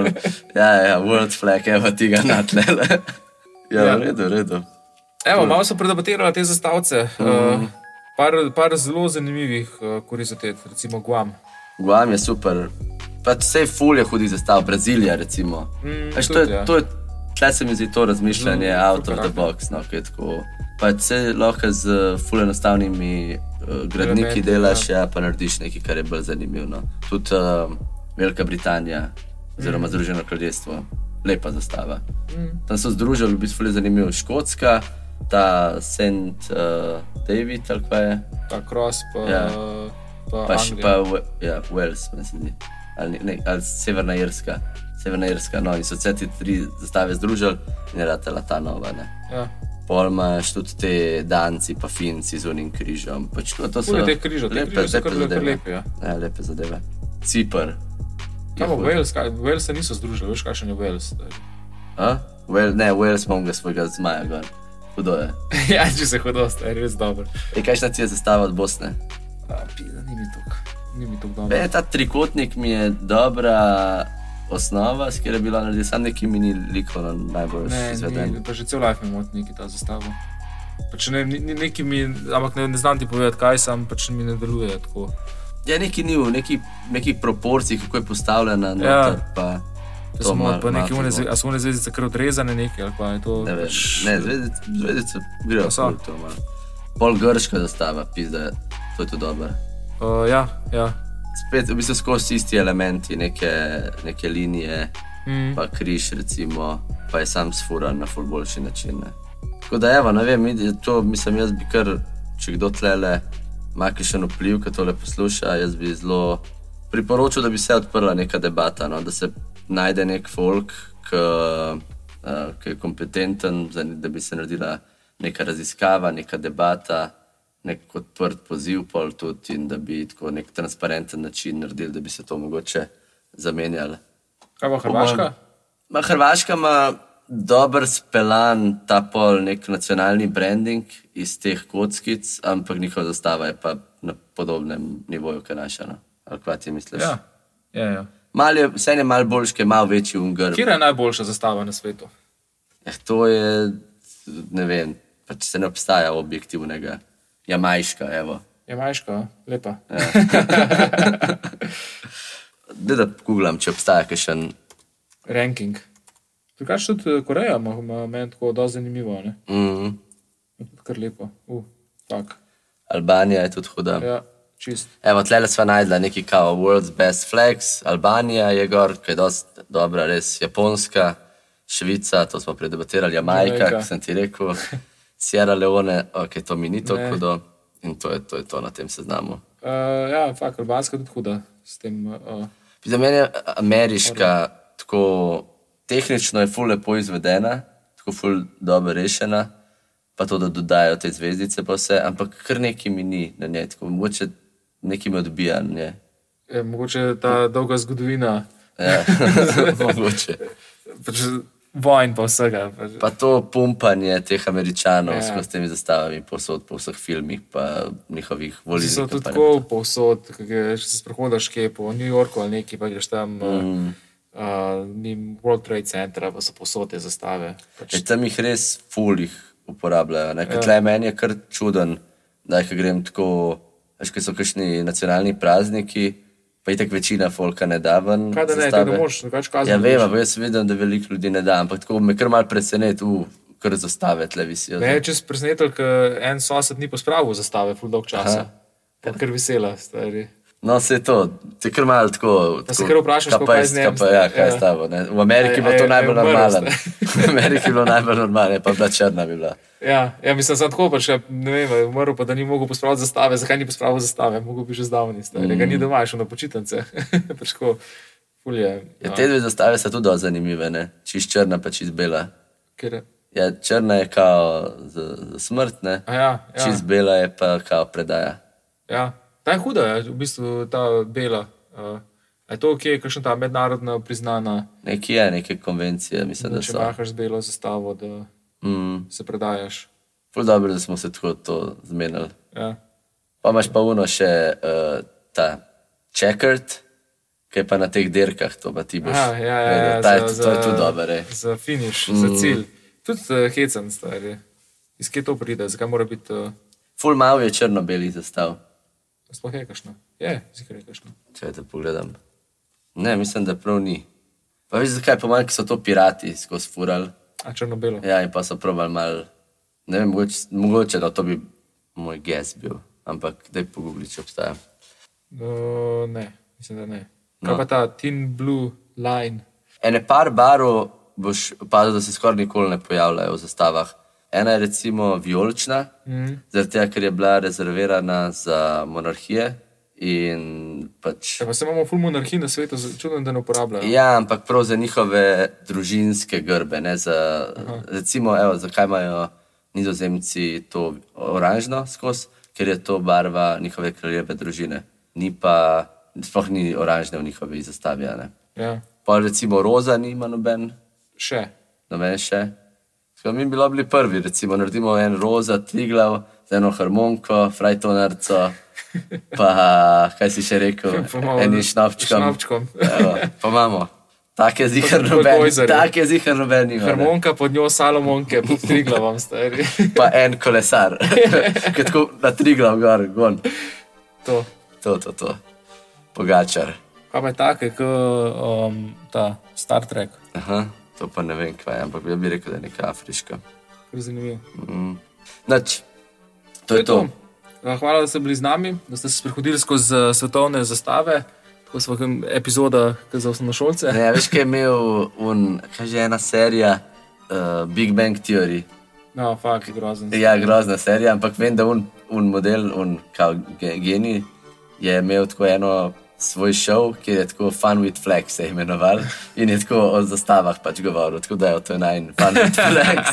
ja, ja, world flag, evo ti ga natlele. Ja,
Ja.
ja, v redu, v redu.
Evo, malo so predebatirali te zastavce. Mm. Par, par zelo zanimivih eh, kurizitet, recimo Guam.
Guam je super. Pa vse fulje hudi zastav, Brazilija recimo.
Mm,
Veš, to
tudi,
je,
ja.
to je, tle se mi zdi to razmišljanje
Mm,
out of
super,
the
ok.
box, no, ki je tako. Pa se lahko z eh, fulje enostavnimi uh, gradniki
Elementi,
delaš, ja, pa narediš nekaj, kar je bolj zanimivo. Tudi uh, Velika Britanija, oziroma mm. Združeno kraljestvo, lepa zastava.
Mm.
Tam so združili, v bistvu je zanimivo, Škotska, ta St. Uh, David, ali kaj je,
Ta kros, pa,
Ja.
pa,
pa še
Anglija.
pa Wa- ja, Wales, meni se zdi, ali, ne, ali Severna Irska. Severna Irska, no in so vse te tri zastave združili in je ratela ta nova. Ne.
Ja.
Pol imaš tudi te Danci, pa Finci z unim križem. Pač, tako, to so
Tudi te križe, te
lepe,
križe so
lepe,
kar- kar
zadeve.
lepe, ja.
Ja, lepe zadeve. Cipr.
Kaj pa
Jehud.
Wales, kaj, Wales se niso združili, veš, kakšen je Wales.
A? Wel, ne, Wales imamo ga svojega zmaja, gor. hudo je.
ja, če se hodo, je res dobro.
E, kajšna ti je zastava od Bosne?
A, Pizda, ni mi tako, ni mi tako dobro.
E, ta trikotnik mi je dobra osnova, s katero je bila naredila, samo neki mini likovno najbolj
Ne,
izveden.
ni, pa že cel life mi moti neki ta zastava. Pač ne, ni, ni, neki mi, ampak ne, ne znam ti povedati, kaj sam, pač mi ne deluje tako.
Ja, neki ni v neki, neki proporciji, kako je postavljena.
Ja.
Ja. Pa,
Da
To
smo
malo-
pa neki
malo
une,
zelo.
zve- a so one zvezdice kar odrezane nekaj, ali pa je to...
Ne vem,
pač-
ne, zvezdice, zvezdice grejo
So.
samo to malo. Pol grška zastava, pizda, to je to dobro.
Uh, ja, ja.
Spet v bistvu skozi isti elementi, neke, neke linije,
Mm.
pa križ, recimo, pa je sam sfuran na ful boljši način. Ne. Tako da, evo, ne vem, id- to mislim, jaz bi kar, če kdo tlele ima kakšen vpliv, ki tole posluša, jaz bi zelo priporočil, da bi se odprla neka debata, no, da se najde nek folk, ki eh, ki je kompetenten, za- da bi se naredila neka raziskava, neka debata. Nek odprt poziv, pol tudi, in da bi tako nek transparenten način naredili, da bi se to mogoče zamenjali.
Kaj bo Hrvaška?
Ma Hrvaška ima dober speljan ta pol nek nacionalni branding iz teh kockic, ampak njihova zastava je pa na podobnem nivoju kot naša. No? Ali kaj ti misliš?
Ja. Ja, ja.
Mal je, vse je malo boljše, malo večji ungar.
Kje je najboljša zastava na svetu?
Eh, to je, ne vem, pač se ne obstaja objektivnega. Jamajška, evo.
Jamajška, a? lepa.
Ja. Da, da googlam, če obstaja kakšen.
Ranking. Drugač tudi eh, Koreja ima- ima meni tako dosti zanimivo, ne?
Mm,
Je tudi Kar lepo. Uh, tak.
Albanija je tudi huda.
Ja, čist.
Evo, tle smo najdla neki kao World's Best Flags, Albanija je gor, ki je dosti dobra, res Japonska, Švica, to smo predebatirali, Jamajka,
Jamajka.
kot sem ti rekel, Sierra Leone, ok, to mi ni
Ne.
tako hudo in to je, to je to na tem seznamu.
Uh, ja, fakt, Albanska je tudi huda s tem. Uh,
Za mene je ameriška tako tehnično je ful lepo izvedena, tako ful dobro rešena, pa to, da dodajo te zvezdice pa vse, ampak kar neki mi ni na njej, tako mogoče neki mi odbija na njej.
je, eh, mogoče ta dolga zgodovina
Ja, mogoče.
pač, vojn pa vsega. Pač.
Pa to pumpanje teh američanov
Ja.
ja. s temi zastavami, posod po vseh filmih, pa njihovih
Ti
volilnih
so tudi
kampanjah.
tako povsod, ko greš, če se sprohodiš kje po New Yorku ali neki, pa greš tam mm. uh, mimo World Trade Centra, pa so povsod te zastave. Pač,
E, tam jih res fulih uporabljajo. Ne? Ja. Meni je kar čuden, da jih grem tako, veš, ker so kakšni nacionalni prazniki, pa je tako večina folka ne da ven.
Kaj da ne,
zastave.
tega ne moreš, drugače kazni
Ja,
dobiš.
vem, ampak jaz vidim, da veliko ljudi ne da, ampak tako me kar mal preseneti, uh, kar zastave tle visijo.
Me je čez presenetil, ker en sosed ni pospravil zastave, ful dolg časa. Pa Kar vesela, stari.
No, se je to, ti kar malo tako.
se
tako,
kar vprašaš,
kaj
kako
pa
je
je
z
s-
njem,
kaj pa, ja, kaj je
ja.
s tabo. Ne? V Ameriki je
A
bilo
je- a
to
je
najbolj
umrl,
normalen.
ste?
v Ameriki je bilo najbolj normalen, pa bila črna bi bila.
Ja, ja, mislim, da tako pač, ja, ne vem, je umrl pa da ni mogel pospraviti zastave. Zakaj ni pospravil zastave? Mogoče bi že zdavni, stari. Mm. Ga ni doma, je šel na počitnice. pač tako, ful je.
Ja,
no,
te dve zastave so tudi dosti zanimive, ne? čist črna pa čist bela.
ker-
Ja, črna je kao za, za smrt, ne?
A ja,
Ja.
ja,
čist bela je pa kao predaja.
ja. Ta je huda, je, v bistvu ta bela. Uh, je to, kje je kakšna ta mednarodna priznana,
Nekje je neke konvencije, mislim,
da
da
če
so.
mahaš z belo zastavo, da
Mm,
se predajaš.
ful dobro, da smo se tako to zmenili.
Ja.
Pa imaš pa uno še uh, ta checkered, ki je pa na teh dirkah, to pa ti boš.
Aha, ja, ja,
vedel.
ja,
Ta je
za-
tu-
za-
to je tudi dobro. ej.
Za finiš, mm. za cilj. Tudi uh, hecen star je. Iz kje to pride, zakaj mora biti uh,
Ful malo je črno-beli zastav,
sploh hekašno? Je, zikaj hekašno.
če te pogledam. Ne, mislim, da prav ni. Pa veš, zakaj pomanjk so to pirati skozi fural.
A črno-belo. Ja.
Ja, in pa so probal mal, ne vem, mogoče, mogoče da to bi moj gess bil, ampak daj pogubli, če obstaja.
Uh, ne, mislim, da ne. Kaj
No.
pa ta tin blue line?
Ene par barov boš opazil, da se skoraj nikoli ne pojavljajo v zastavah. Ena je recimo vijolična, mm. zaradi tega, ker je bila rezervirana za monarhije in pač.
Ja, pa se imamo ful monarhij na svetu, z- čudno, da ne uporabljajo.
Ja, ampak prav za njihove družinske grbe. Ne, za, recimo, evo, zakaj imajo nizozemci to oranžno skozi, ker je to barva njihove kraljeve družine. Ni pa, sploh ni oranžne v njihovi zastavi. a ne.
Ja.
Pa recimo roza nima noben,
Še.
noben še. Tako, mi bi bilo bili prvi, recimo, naredimo en roza, tri glav, z eno harmoniko, frajtonarco, pa kaj si še rekel,
Pa malo
enim
s-
šnopčkom.
šnopčkom.
Evo, pa imamo. Take zihar
Pa tako
noben,
gojzarje.
take zihar noben ima. Ja, ne.
Harmonika pod njo, salomonke, pod tri glavom stari.
Pa en kolesar, ki tako na tri glav gor, gon.
to.
To, to, to. Pogačar.
Kaj pa je take, kot um, ta Star Trek,
Aha, to pa ne vem, kaj je, ampak jaz bi rekel, da je neka afriška.
kar zanimivo.
Nač, to je to.
Eh, Hvala, da ste bili z nami, da ste se sprehodili skozi eh, svetovne zastave. Tako smo kot epizoda ke za osnovnošolce.
Ne, veš, kaj je imel, un, kaj že ena serija, uh, Big Bang Theory.
No, fakt, grozen.
Ja, grozna serija, ampak vem, da un, un model, un kao ge- genij, je imel tako eno svoj šov, ki je tako Fun with Flex se je imenoval in je tako o zastavah pač govoril, tako da je to najn Fun with Flex.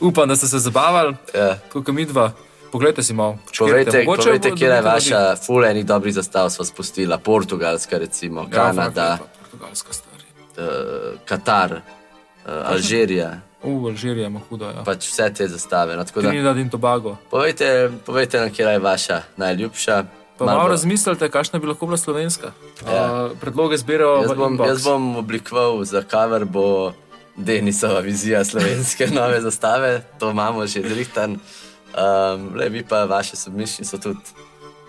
Upam, da ste se zabavali,
ja.
tako kot mi dva. Poglejte si malo,
Povejte,
Mogoče
povejte
bo-
kje je
dobite navdih.
vaša, ful enih dobrih zastav sva spustila, Portugalska recimo, ja,
Ja, fakt,
Kanada,
lepa, Portugalska stvar.
uh, Katar, uh, Alžirija,
V Alžiriji ima hudo. Ja.
pač vse te zastave. No, tako da-
Trinidad in Tobago.
Povejte, povejte nam, kje je vaša najljubša.
Pa malo razmislite, kakšna bi lahko bila slovenska.
Ja.
Ja. Uh, predloge zbirajo
Jaz
v
bom,
inbox.
jaz bom oblikoval, za kaver bo Denisova vizija slovenske nove zastave, to imamo že zrihtan. Um, le vi pa vaše submišljenje so tudi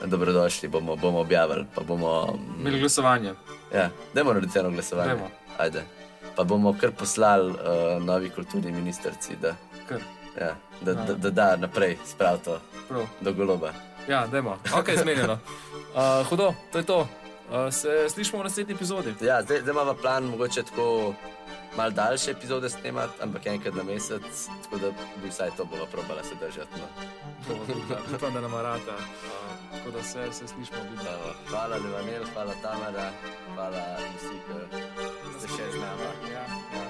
dobrodošli, bomo, bomo objavili. Pa bomo, mm,
Imeli glasovanje.
ja, dajmo narediti eno glasovanje.
Dajmo.
Ajde. Pa bomo kar poslali uh, novi kulturni ministrici, da,
Kar,
ja, da,
Ja.
da, da da naprej spravi to
prav.
do goloba.
Ja, dajmo. Ok, zmenjeno. Uh, hudo, to je to. Uh, se slišimo v naslednji epizodi.
Ja, zdaj, zdaj imamo plan, mogoče tako malo daljše epizode snemati, ampak enkrat na mesec, tako da bi vsaj to bomo probala se držati. No.
To bo tudi, ja. Upam, da nam rata. Uh, tako da se, se slišimo. vidimo.
Evo, Hvala Levanel, hvala Tamara, hvala vsi, ki ste še z nami.
Ja, ja.